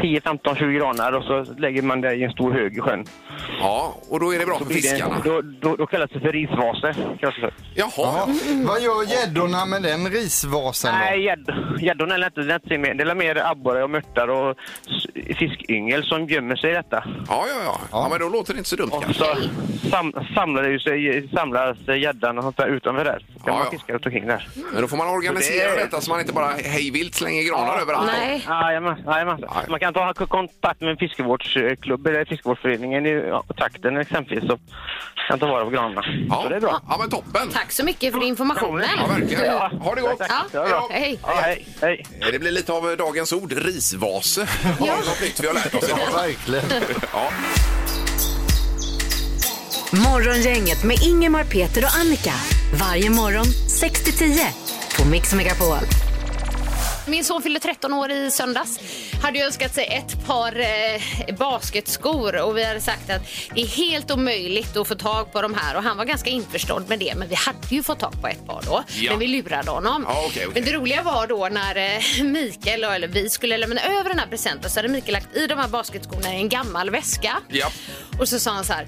Speaker 5: 10, 15, 20 granar och så lägger man det i en stor hög i sjön.
Speaker 1: Ja, och då är det bra för
Speaker 5: Blir det-
Speaker 1: fiskarna.
Speaker 5: Då, då, då kallas det för risvaser. kallas det för.
Speaker 1: Jaha.
Speaker 2: Ja. Vad gör gäddorna med den risvasen då?
Speaker 5: Nej, gädd- gäddorna är lätt- lätt se mer. Det är mer abborre och mörtar och s- fiskyngel som gömmer sig i detta.
Speaker 1: Ja, ja, ja. Ja, men då låter det inte så dumt
Speaker 5: Och
Speaker 1: kanske.
Speaker 5: så sam, samlar det ju sig, samlas gäddan och sånt där utanför där. Så kan
Speaker 1: Ja,
Speaker 5: man
Speaker 1: ja.
Speaker 5: fiska runt omkring där.
Speaker 1: Men då får man organisera
Speaker 5: Det är-
Speaker 1: detta så man inte bara hejvilt slänger granar överallt.
Speaker 3: Nej.
Speaker 5: Jajamän, jajamän.
Speaker 1: Nej.
Speaker 5: Man kan ta kontakt med en fiskevårdsklubb eller fiskevårdsföreningen i ja, trakten exempelvis och kan ta vara på granarna.
Speaker 1: Ja.
Speaker 5: Så det är bra.
Speaker 1: Ja, men toppen.
Speaker 3: Tack så mycket för
Speaker 1: Ja,
Speaker 3: informationen.
Speaker 1: verkligen.
Speaker 5: Ja.
Speaker 1: Ha det gott.
Speaker 5: Tack,
Speaker 3: Ja.
Speaker 5: tack. Det är bra.
Speaker 3: Hej.
Speaker 5: Ja, hej. hej.
Speaker 1: Eh, Det blir lite av dagens ord, risvase. Ja. Något nytt vi har lärt oss
Speaker 2: Ja,
Speaker 1: idag.
Speaker 2: verkligen.
Speaker 1: Ja.
Speaker 4: Morgongänget med Ingemar, Peter och Annika. Varje morgon 6 till 10 på Mix Megapol.
Speaker 3: Min son fyllde 13 år i söndags. Hade ju önskat sig ett par eh, basketskor och vi hade sagt att det är helt omöjligt att få tag på de här och han var ganska införstådd med det men vi hade ju fått tag på ett par då.
Speaker 1: Ja.
Speaker 3: Men vi lurade honom.
Speaker 1: Ja, okej, okej.
Speaker 3: Men det roliga var då när eh, Mikael, eller vi skulle lämna över den här presenten så hade Mikael lagt i de här basketskorna i en gammal väska.
Speaker 1: Ja.
Speaker 3: Och så sa han så här.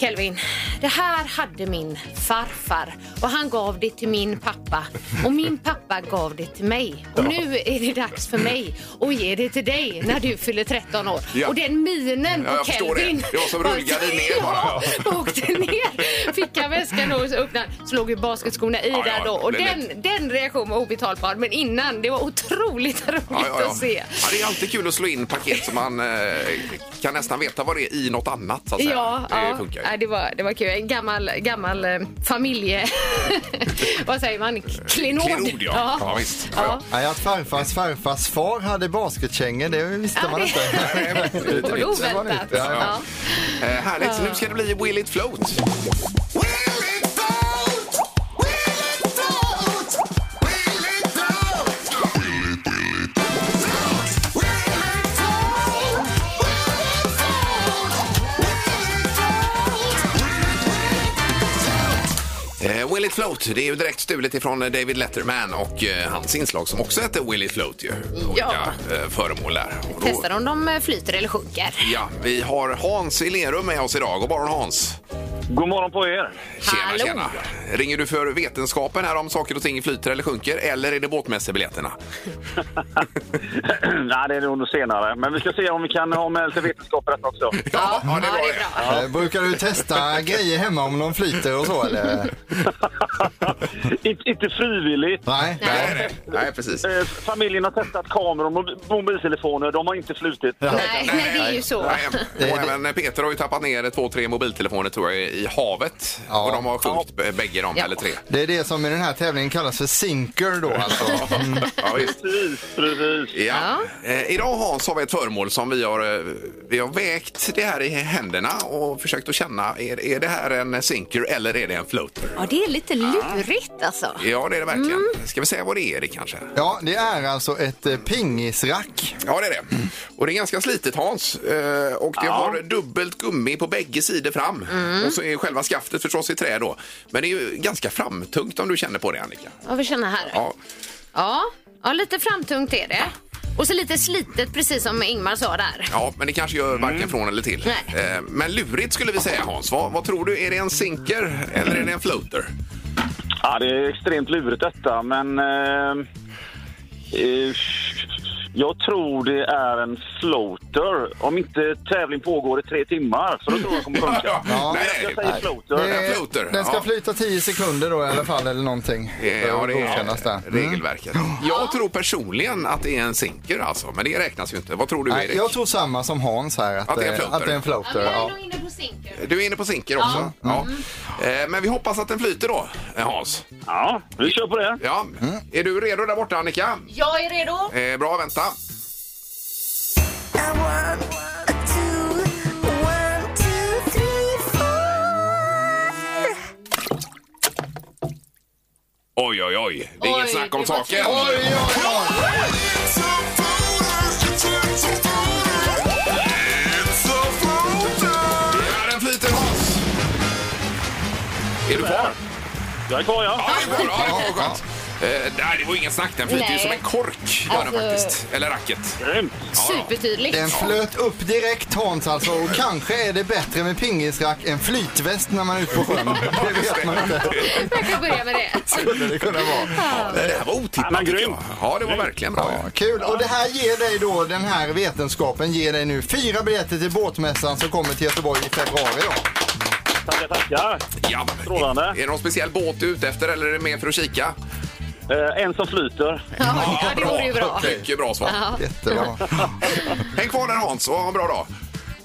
Speaker 3: Kelvin, det här hade min farfar och han gav det till min pappa och min pappa gav det till mig. Och nu är det dags för mig att ge det till dig när du fyller 13 år.
Speaker 1: Ja.
Speaker 3: Och den minen
Speaker 1: Ja,
Speaker 3: på
Speaker 1: jag förstår
Speaker 3: Kelvin.
Speaker 1: det. Det var som rullgardin ner bara.
Speaker 3: Ja, åkte ner. fickan, väskan och så öppnade han, så låg ju basketskorna i
Speaker 1: Ja, ja,
Speaker 3: där då. Och
Speaker 1: det är
Speaker 3: den, den reaktionen var obetalbar. Men innan, det var otroligt roligt
Speaker 1: Ja, ja, ja.
Speaker 3: att se.
Speaker 1: Ja, det är alltid kul att slå in paket som man eh, kan nästan veta vad det är i något annat. Så att säga.
Speaker 3: Ja,
Speaker 1: det
Speaker 3: ja.
Speaker 1: funkar ju.
Speaker 3: Nej, det, var, det var kul. En gammal, gammal eh, familje... Vad säger man? Klenod.
Speaker 1: Klenod, ja. Ja, visst. Ja, ja.
Speaker 2: Nej, att farfars farfars far hade basketkängor, det visste man
Speaker 3: det-
Speaker 2: inte.
Speaker 1: Nej, nej, nej. Lite
Speaker 3: Var det
Speaker 1: eh, nytt.
Speaker 2: Det var
Speaker 3: oväntat?
Speaker 2: nytt, ja, ja.
Speaker 3: Ja.
Speaker 1: Eh, härligt, nu ska det bli Will It Float. Eh, Will It Float, det är ju direkt stulet ifrån eh, David Letterman och eh, hans inslag som också heter Will It Float ju. Olika eh, föremål där. Och då-
Speaker 3: Testar om de eh, flyter eller sjunker.
Speaker 1: Ja, vi har Hans i Lerum med oss idag. God morgon Hans!
Speaker 5: God morgon på er.
Speaker 1: Tjena,
Speaker 3: Hallå.
Speaker 1: tjena! Ringer du för vetenskapen här om saker och ting flyter eller sjunker eller är det båtmässebiljetterna?
Speaker 5: Nej, det är nog senare. Men vi ska se om vi kan ha med lite vetenskap i detta också.
Speaker 1: Ja, ja,
Speaker 3: ja, det är bra.
Speaker 2: Eh, Brukar du testa grejer hemma om de flyter och så eller?
Speaker 5: inte, inte frivilligt.
Speaker 2: Nej.
Speaker 1: Nej, nej, nej, precis.
Speaker 5: Eh, Familjen har testat kameror och mob- mobiltelefoner. De har inte flutit.
Speaker 3: Nej, nej, det är ju så.
Speaker 1: Nej, och även Peter har ju tappat ner två, tre mobiltelefoner tror jag i havet.
Speaker 2: Ja.
Speaker 1: Och de har sjunkit b- bägge de,
Speaker 3: Ja.
Speaker 1: eller tre.
Speaker 2: Det är det som i den här tävlingen kallas för sinker då alltså.
Speaker 1: Ja, visst.
Speaker 5: Precis, precis.
Speaker 1: Ja. Eh, idag Hans har vi ett föremål som vi har, eh, vi har vägt det här i händerna och försökt att känna. Är, är det här en sinker eller är det en floater?
Speaker 3: Ja, det är lite lurigt alltså.
Speaker 1: Ja, det är det verkligen. Ska vi säga vad det är det kanske?
Speaker 2: Ja, det är alltså ett eh, pingisrack.
Speaker 1: Ja, det är det. Och det är ganska slitet Hans. Eh, och det har dubbelt gummi på bägge sidor fram. Och så är själva skaftet förstås i trä då. Men det är ju ganska framtungt om du känner på det Annika.
Speaker 3: Ja, vi känner här.
Speaker 1: Ja,
Speaker 3: Ja, ja lite framtungt är det. Och så lite slitet, precis som Ingmar sa där.
Speaker 1: ja men det kanske gör varken från eller till.
Speaker 3: Nej.
Speaker 1: Eh, men lurigt skulle vi säga Hans. Vad, vad tror du? Är det en sinker eller är det en floater?
Speaker 5: Ja, det är extremt lurigt detta, men... Eh, eh, jag tror det är en floater. Om inte tävling pågår i tre timmar, så då tror jag den kommer sjunka.
Speaker 2: Ja.
Speaker 1: nej, nej.
Speaker 5: Jag säger floater.
Speaker 1: en floater,
Speaker 2: Den ska
Speaker 1: ja.
Speaker 2: flyta 10 sekunder då i alla fall eller någonting.
Speaker 1: Eh, Ja, det
Speaker 2: Godkännas där. Mm.
Speaker 1: är regelverket. Jag tror personligen att det är en sinker alltså, men det räknas ju inte. Vad tror du
Speaker 2: Nej,
Speaker 1: Erik?
Speaker 2: jag tror samma som Hans här, att,
Speaker 1: Att det är en
Speaker 2: eh,
Speaker 1: floater.
Speaker 2: Att det är en floater ja.
Speaker 3: inne på sinker.
Speaker 1: Du är inne på sinker också? Ja.
Speaker 3: Mm.
Speaker 1: Eh, Men vi hoppas att den flyter då, eh, Hans.
Speaker 5: Ja, vi kör på det.
Speaker 1: Ja.
Speaker 3: Mm.
Speaker 1: Är du redo där borta, Annika?
Speaker 3: Jag är redo.
Speaker 1: Eh, bra, vänta. Oj, oj, oj. Det är
Speaker 3: Oj,
Speaker 1: inget snack om
Speaker 3: det var
Speaker 1: saken.
Speaker 2: Oj, oj, oj!
Speaker 1: Ja, den flyter, Hans. Är du kvar?
Speaker 5: Jag är kvar,
Speaker 1: Ja,
Speaker 5: ja.
Speaker 1: det är bra. Ja, det var skönt. Eh, nej, det var ingen snack. Den flyter ju
Speaker 3: Nej.
Speaker 1: som en kork. Var den
Speaker 3: Alltså-
Speaker 1: faktiskt. Eller racket.
Speaker 5: Grymt.
Speaker 3: Supertydligt.
Speaker 2: Den flöt upp direkt Hans alltså och kanske är det bättre med pingisrack än flytväst när man är ute på sjön. Det vet man inte.
Speaker 3: Jag kan börja med det.
Speaker 2: Skulle det kunna vara.
Speaker 1: Det här var otippat.
Speaker 5: Ja, men
Speaker 1: tycker
Speaker 5: grym.
Speaker 1: jag. Ja, det var verkligen bra.
Speaker 2: Ja, kul! Och det här ger dig då, den här vetenskapen ger dig nu fyra biljetter till båtmässan som kommer till Göteborg i februari då.
Speaker 5: Tackar, tackar.
Speaker 1: Ja,
Speaker 5: Strålande.
Speaker 1: Är det någon speciell båt du är ute efter eller är det mer för att kika?
Speaker 5: Eh, en som flyter.
Speaker 3: Ja, ja, det vore ju bra.
Speaker 1: Mycket bra svar.
Speaker 2: Jättebra.
Speaker 1: Häng kvar där Hans och ha en bra dag.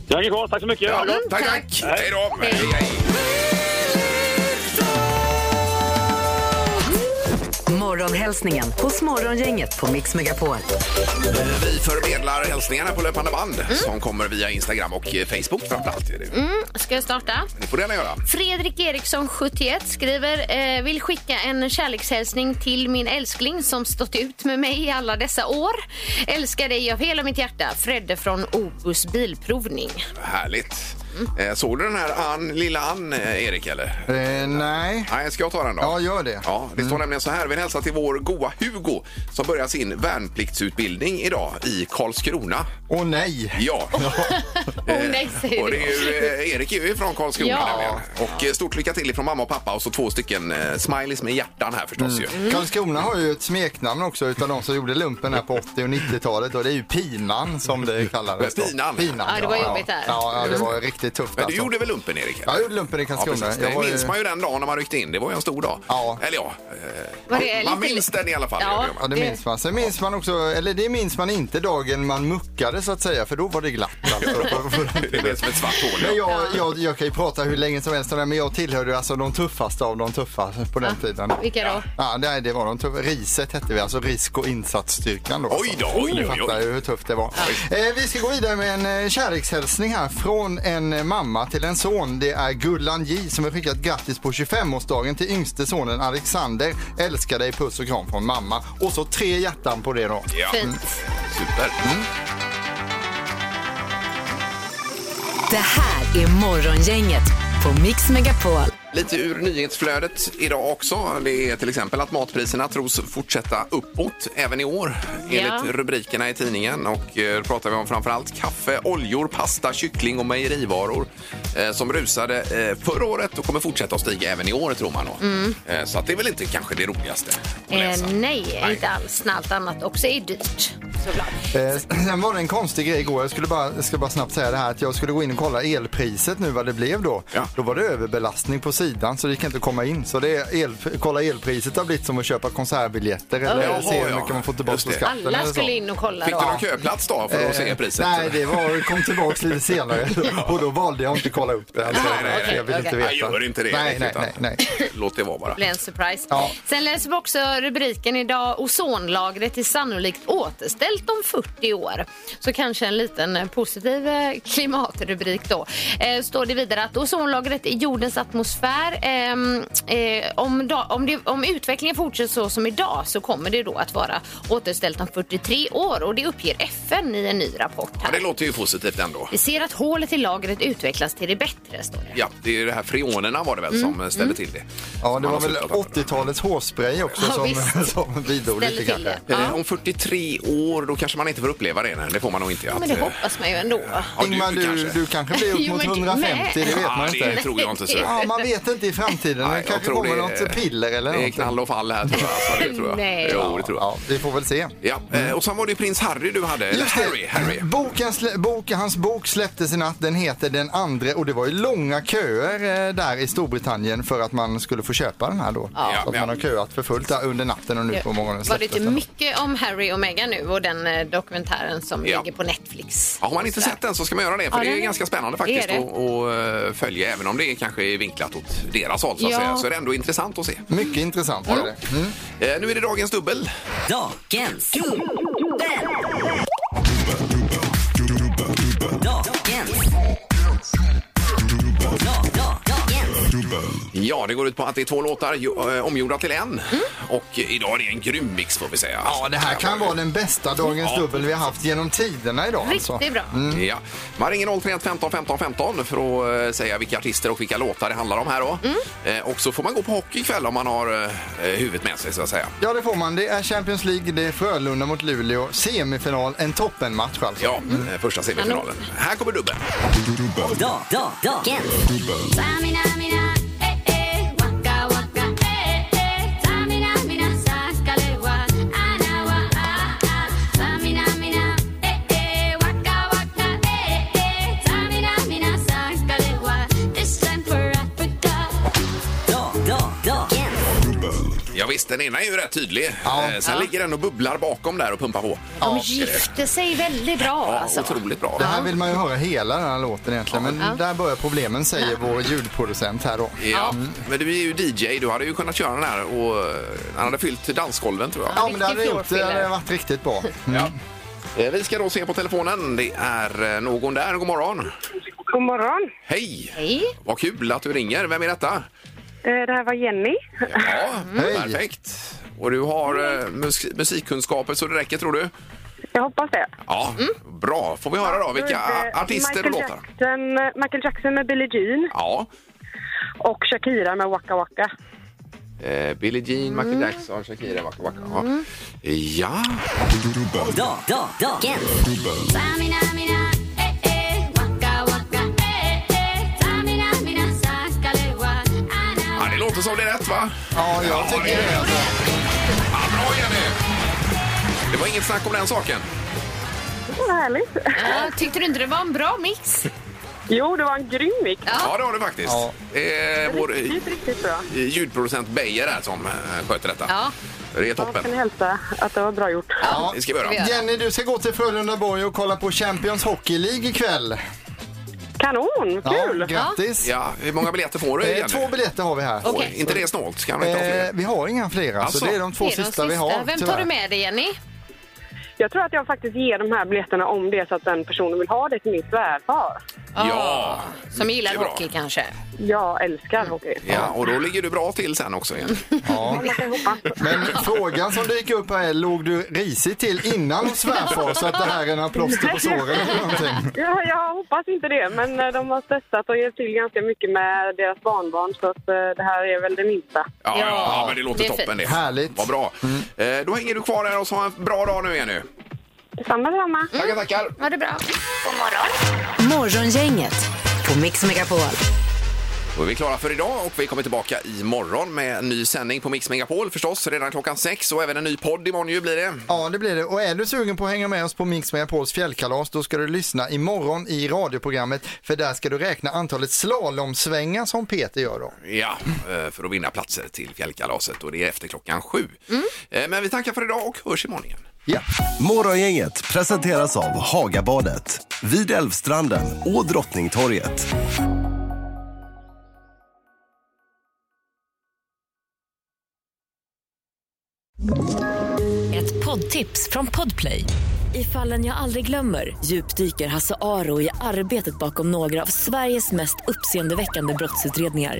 Speaker 5: Jag är kvar. Tack så mycket. Ha det gott.
Speaker 1: tack,
Speaker 3: tack.
Speaker 1: tack. Hej då.
Speaker 3: Hej.
Speaker 1: Hej, hej.
Speaker 4: Morgonhälsningen hos Morgongänget på Mix Megapol.
Speaker 1: Vi förmedlar hälsningar här på löpande band
Speaker 3: Mm.
Speaker 1: som kommer via Instagram och eh, Facebook framförallt. är det.
Speaker 3: Ska jag starta?
Speaker 1: Det får du gärna göra.
Speaker 3: Fredrik Eriksson, 71, skriver eh, vill skicka en kärlekshälsning till min älskling som stått ut med mig i alla dessa år. Älskar dig av hela mitt hjärta. Fredde från Obus bilprovning.
Speaker 1: Härligt.
Speaker 3: Mm.
Speaker 1: Eh, Såg du den här Ann, lilla Ann, eh, Erik? Eller?
Speaker 2: Eh, nej.
Speaker 1: Nej, ska jag ta den då?
Speaker 2: Ja, gör det.
Speaker 1: Ja, det står nämligen så här. Vi hälsar till vår goa Hugo som börjar sin värnpliktsutbildning idag i Karlskrona.
Speaker 2: Åh nej.
Speaker 1: Ja.
Speaker 3: Åh nej, säger
Speaker 1: Och det
Speaker 3: du.
Speaker 1: är ju, eh, Erik är ju från Karlskrona
Speaker 3: Ja.
Speaker 1: nämligen. Och eh, stort lycka till ifrån mamma och pappa och så två stycken eh, smileys med hjärtan här
Speaker 2: Mm.
Speaker 1: förstås ju.
Speaker 2: Karlskrona har ju ett smeknamn också utav de som gjorde lumpen här på 80 och 90-talet och det är ju Pinan som det kallades då.
Speaker 1: Pinan?
Speaker 2: Pinan
Speaker 3: Ja, det var jobbigt där.
Speaker 2: Ja, ja, det var riktigt riktigt tufft.
Speaker 1: Men du
Speaker 2: alltså.
Speaker 1: gjorde väl lumpen, Erik?
Speaker 2: Ja, jag gjorde lumpen i Karlskrona.
Speaker 1: Ja, precis.
Speaker 2: Jag
Speaker 1: det
Speaker 2: var ju-
Speaker 1: minns man ju den dagen när man ryckte in. Det var ju en stor dag.
Speaker 2: Ja.
Speaker 1: Eller ja,
Speaker 3: Var
Speaker 1: eh,
Speaker 3: det
Speaker 1: man
Speaker 3: lite-
Speaker 1: minns den i alla fall.
Speaker 3: Ja.
Speaker 1: det gör man.
Speaker 2: Ja, det minns man. Sen minns man också, eller det minns man inte dagen man muckade så att säga, för då var det glatt. Alltså.
Speaker 1: Det blev som ett svart hål.
Speaker 2: Men
Speaker 1: ja.
Speaker 2: jag, jag, jag kan ju prata hur länge som helst om det, men jag tillhörde alltså de tuffaste av de tuffa på den tiden.
Speaker 3: Vilka då?
Speaker 2: Ja, nej, det var de tuffa. Riset hette vi, alltså risk och insatsstyrkan då.
Speaker 1: Oj då, oj,
Speaker 2: Ni
Speaker 1: oj,
Speaker 2: fattar
Speaker 1: oj.
Speaker 2: ju hur tufft det var. Eh, vi ska gå vidare med en eh, kärlekshälsning här från en eh, mamma till en son. Det är Gullan J som har skickat grattis på 25-årsdagen till yngste sonen Alexander. Älskar dig, puss och kram från mamma. Och så tre hjärtan på det då.
Speaker 1: Ja.
Speaker 3: Fint.
Speaker 1: Super.
Speaker 2: Mm.
Speaker 4: Det här är Morgongänget på Mix Megapol.
Speaker 1: Lite ur nyhetsflödet idag också. Det är till exempel att matpriserna tros fortsätta uppåt även i år enligt rubrikerna i tidningen. Och eh, då pratar vi om framförallt kaffe, oljor, pasta, kyckling och mejerivaror eh, som rusade eh, förra året och kommer fortsätta att stiga även i år tror man. Då. Eh, så att det är väl inte kanske det roligaste att läsa.
Speaker 3: Mm. Eh, nej, inte alls. Allt annat också är dyrt. Såklart.
Speaker 2: Eh, sen var det en konstig grej igår. Jag skulle bara, jag ska bara snabbt säga det här att jag skulle gå in och kolla elpriset nu vad det blev då.
Speaker 1: Ja.
Speaker 2: Då var det överbelastning på sidan så det gick inte att komma in. Så det är el, kolla elpriset har blivit som att köpa konsertbiljetter eller
Speaker 1: Jaha,
Speaker 2: se hur
Speaker 1: ja.
Speaker 2: mycket man får tillbaka
Speaker 1: Just
Speaker 2: på
Speaker 1: det.
Speaker 2: skatten.
Speaker 3: Alla
Speaker 2: eller så.
Speaker 3: skulle in och kolla
Speaker 1: Fick du någon
Speaker 3: då.
Speaker 1: köplats då för att se priset?
Speaker 2: Eh, Nej, det var, kom tillbaka lite senare och då valde jag inte att kolla upp det. Alltså,
Speaker 1: Nej, nej, nej.
Speaker 2: jag vill inte
Speaker 3: Okej.
Speaker 2: veta.
Speaker 1: Ah, Jag gör inte det.
Speaker 2: Nej,
Speaker 1: Erik,
Speaker 2: nej,
Speaker 1: utan
Speaker 2: nej, nej.
Speaker 1: Låt det vara bara.
Speaker 3: blir en surprise.
Speaker 2: Ja.
Speaker 3: Sen läser vi också rubriken idag. Ozonlagret är sannolikt återställt om 40 år. Så kanske en liten eh, positiv eh, klimatrubrik då. Eh, står det vidare att ozonlagret i jordens atmosfär ehm, eh, om, da, om, det, om utvecklingen fortsätter så som idag så kommer det då att vara återställt om 43 år och det uppger FN i en ny rapport
Speaker 1: Ja,
Speaker 3: här.
Speaker 1: det låter ju positivt ändå.
Speaker 3: Vi ser att hålet i lagret utvecklas till det bättre, står det.
Speaker 1: Ja, det är ju det här freonerna var det väl
Speaker 3: Mm.
Speaker 1: som ställde till det.
Speaker 2: Ja, det
Speaker 1: Man
Speaker 2: var
Speaker 1: har
Speaker 2: väl
Speaker 1: slutat använda.
Speaker 2: 80-talets hårspray också
Speaker 3: Ja,
Speaker 2: som,
Speaker 3: visst.
Speaker 2: som bidrog
Speaker 3: Ställer
Speaker 2: lite
Speaker 3: till
Speaker 2: kanske.
Speaker 3: det.
Speaker 1: Eh,
Speaker 3: Ja.
Speaker 1: Om 43 år, då kanske man inte får uppleva det. Nej, det får man nog inte.
Speaker 3: Ja,
Speaker 1: att,
Speaker 3: men det
Speaker 1: eh,
Speaker 3: hoppas man ju ändå.
Speaker 1: Ja,
Speaker 2: Ingmar, du, du,
Speaker 1: kanske.
Speaker 2: kanske blir upp
Speaker 3: Jo,
Speaker 2: mot
Speaker 3: men du
Speaker 2: 150, det
Speaker 3: med.
Speaker 2: vet man
Speaker 1: Ja,
Speaker 2: inte.
Speaker 1: eh, det tror jag inte. Så.
Speaker 2: Ja, man vet inte i framtiden.
Speaker 1: Nej,
Speaker 2: det
Speaker 1: jag
Speaker 2: kanske
Speaker 1: tror
Speaker 2: kommer
Speaker 1: det
Speaker 2: något
Speaker 1: är-
Speaker 2: piller eller
Speaker 1: Det är
Speaker 2: någonting.
Speaker 1: knall och fall här, tror jag. Alltså, det tror jag.
Speaker 3: Nej.
Speaker 1: Jo, det tror jag.
Speaker 2: Ja, vi får väl se.
Speaker 1: Ja, eh, och sen var det ju prins Harry du hade. Eller Harry, Harry.
Speaker 2: Boken slä, bok, hans bok släpptes i natt. Den heter Den andre och det var ju långa köer eh, där i Storbritannien för att man skulle få köpa den här då.
Speaker 1: Ja.
Speaker 2: Så att
Speaker 1: Ja.
Speaker 2: man har köat för fullt där under natten och nu på morgonen
Speaker 3: Var det
Speaker 2: släpptes
Speaker 3: inte
Speaker 2: den.
Speaker 3: mycket om Harry och Meghan nu och den eh, dokumentären som
Speaker 1: Ja.
Speaker 3: ligger på Netflix?
Speaker 1: Ja, har man inte sett den så ska man göra det, för
Speaker 3: Ja,
Speaker 1: det är ju
Speaker 3: den-
Speaker 1: ganska spännande
Speaker 3: det är
Speaker 1: faktiskt
Speaker 3: det.
Speaker 1: att att, eh, följa, även om det kanske är vinklat åt deras håll så att
Speaker 3: Ja.
Speaker 1: säga, så är det ändå intressant att se.
Speaker 2: Mycket intressant var det. Mm.
Speaker 1: Eh, Nu är det dagens dubbel.
Speaker 9: Dagens dubbel. Dagens. Da- da- Dagens.
Speaker 1: Ja, det går ut på att det är två låtar ju- eh, omgjorda till en.
Speaker 3: Mm.
Speaker 1: Och eh, idag är det en grym mix får vi säga.
Speaker 2: Ja, det här kan vara den bästa Dagens
Speaker 1: Ja.
Speaker 2: Dubbel vi har haft genom tiderna idag. Alltså.
Speaker 3: Riktigt bra.
Speaker 1: Ja. Man ringer 031 15 15 15 för att eh, säga vilka artister och vilka låtar det handlar om här då. Eh, och så får man gå på hockey ikväll om man har eh, huvudet med sig så att säga.
Speaker 2: Ja, det får man. Det är Champions League, det är Frölunda mot Luleå, semifinal, en toppenmatch alltså.
Speaker 1: Ja, eh, första semifinalen. Här kommer dubbeln.
Speaker 9: Da- da- Dagens. Da- da- Dagens.
Speaker 1: Ja, visst, den ena är ju rätt tydlig.
Speaker 2: Ja.
Speaker 1: Eh, sen ligger den och bubblar bakom där och pumpar på.
Speaker 3: De gifte sig väldigt bra
Speaker 1: Ja,
Speaker 3: alltså.
Speaker 1: Otroligt bra.
Speaker 2: Det här vill man ju höra hela den här låten egentligen, men
Speaker 3: Ja.
Speaker 2: där börjar problemen säger vår ljudproducent här då.
Speaker 1: Ja, men du är ju DJ. Du hade ju kunnat köra den här och eh, han hade fyllt dansgolven tror jag.
Speaker 2: Ja, men det hade,
Speaker 3: Riktig
Speaker 2: gjort, det hade
Speaker 3: flårfiller.
Speaker 2: varit riktigt bra.
Speaker 1: Eh, Vi ska då se på telefonen. Det är eh, någon där. God morgon.
Speaker 8: God morgon.
Speaker 1: Hej!
Speaker 3: Hej.
Speaker 1: Vad kul att du ringer. Vem är detta?
Speaker 8: Eh, Det här var Jenny.
Speaker 1: Ja,
Speaker 2: Hej.
Speaker 1: perfekt. Och du har eh, mus- musikkunskaper så det räcker tror du?
Speaker 8: Jag hoppas det.
Speaker 1: Ja, bra. Får vi höra Mm. då vilka
Speaker 8: Eh,
Speaker 1: artister
Speaker 8: Michael
Speaker 1: och låtar?
Speaker 8: Jackson, Michael Jackson med Billie Jean
Speaker 1: Ja.
Speaker 8: och Shakira med Waka Waka.
Speaker 1: Eh, Billie Jean, Michael Jackson, Shakira, Waka Waka. Ja. ja.
Speaker 9: Da- da- Dagens.
Speaker 1: ja, det låter som det är rätt va?
Speaker 2: Ja, jag
Speaker 1: det
Speaker 2: tycker
Speaker 1: är
Speaker 2: det. Alltså.
Speaker 1: Ja, bra Jenny! Det var inget snack om den saken.
Speaker 8: Vad härligt.
Speaker 3: Ja, tyckte du inte det var en bra mix?
Speaker 6: Jo, det var en grym mix.
Speaker 1: Ja, det har du faktiskt.
Speaker 2: Ja.
Speaker 1: Det är vår eh,
Speaker 6: Riktigt, riktigt bra.
Speaker 1: ljudproducent Beijer här som eh, sköter detta.
Speaker 3: Ja.
Speaker 1: Det är
Speaker 6: Jag kan
Speaker 1: toppen.
Speaker 6: hälsa att det var bra gjort.
Speaker 1: Ja, det ska vi göra.
Speaker 3: vi göra.
Speaker 2: Jenny, du ska gå till Frölunda Borg och kolla på Champions Hockey League ikväll.
Speaker 6: Kanon, kul!
Speaker 2: grattis.
Speaker 1: Ja, hur många biljetter får du?
Speaker 2: Eh,
Speaker 1: Jenny?
Speaker 2: två biljetter har vi här.
Speaker 3: Okej.
Speaker 1: Oj, Inte det snålt? Kan du inte ha
Speaker 2: Eh,
Speaker 1: fler?
Speaker 2: vi har inga fler, alltså.
Speaker 1: Alltså.
Speaker 2: det är de två
Speaker 3: Det är de
Speaker 2: sista, vi har.
Speaker 3: Vem tar
Speaker 2: tyvärr.
Speaker 3: du med dig, Jenny?
Speaker 6: Jag tror att jag faktiskt ger de här biljetterna om det är så att den personen vill ha det till min svärfar.
Speaker 1: Ja,
Speaker 3: Som
Speaker 2: Mm,
Speaker 1: mycket
Speaker 3: gillar
Speaker 1: bra.
Speaker 3: hockey kanske.
Speaker 6: Jag älskar hockey.
Speaker 1: Ja, och då ligger du bra till sen också. Jenny.
Speaker 2: Ja.
Speaker 6: Jag kan hoppas.
Speaker 2: Men frågan som dyker upp här är, låg du risigt till innan hos svärfar så att det här är några plåster på såren eller någonting?
Speaker 6: Ja, jag hoppas inte det, men eh, de har stressat och hjälpt till ganska mycket med deras barnbarn så att eh, det här är väl det minsta.
Speaker 1: Ja, ja.
Speaker 3: Ja.
Speaker 1: ja, men det låter
Speaker 3: Det är
Speaker 1: toppen
Speaker 3: fint.
Speaker 1: det.
Speaker 2: Härligt. Mm.
Speaker 1: Vad bra. Eh, då hänger du kvar här och så ha en bra dag nu
Speaker 3: Mm.
Speaker 1: Jenny.
Speaker 6: Detsamma, detsamma.
Speaker 1: Tackar, tackar.
Speaker 3: Var det bra?
Speaker 10: Morgongänget på Mix Megapol.
Speaker 1: Då är vi klara för idag och vi kommer tillbaka imorgon med en ny sändning på Mix Megapol förstås, redan klockan sex och även en ny podd imorgon ju blir det.
Speaker 2: Ja, det blir det. Och är du sugen på att hänga med oss på Mix Megapols fjällkalas, då ska du lyssna imorgon i radioprogrammet, för där ska du räkna antalet slalomsvängar som Peter gör då.
Speaker 1: Ja, eh, för att vinna platser till fjällkalaset och det är efter klockan sju. Eh, Men vi tackar för idag och hörs imorgon igen.
Speaker 2: Ja.
Speaker 11: Morgongänget presenteras av Hagabadet, vid Älvstranden och Drottningtorget.
Speaker 10: Ett poddtips från Podplay. I fallen jag aldrig glömmer djupdyker Hasse Aro i arbetet bakom några av Sveriges mest uppseendeväckande brottsutredningar.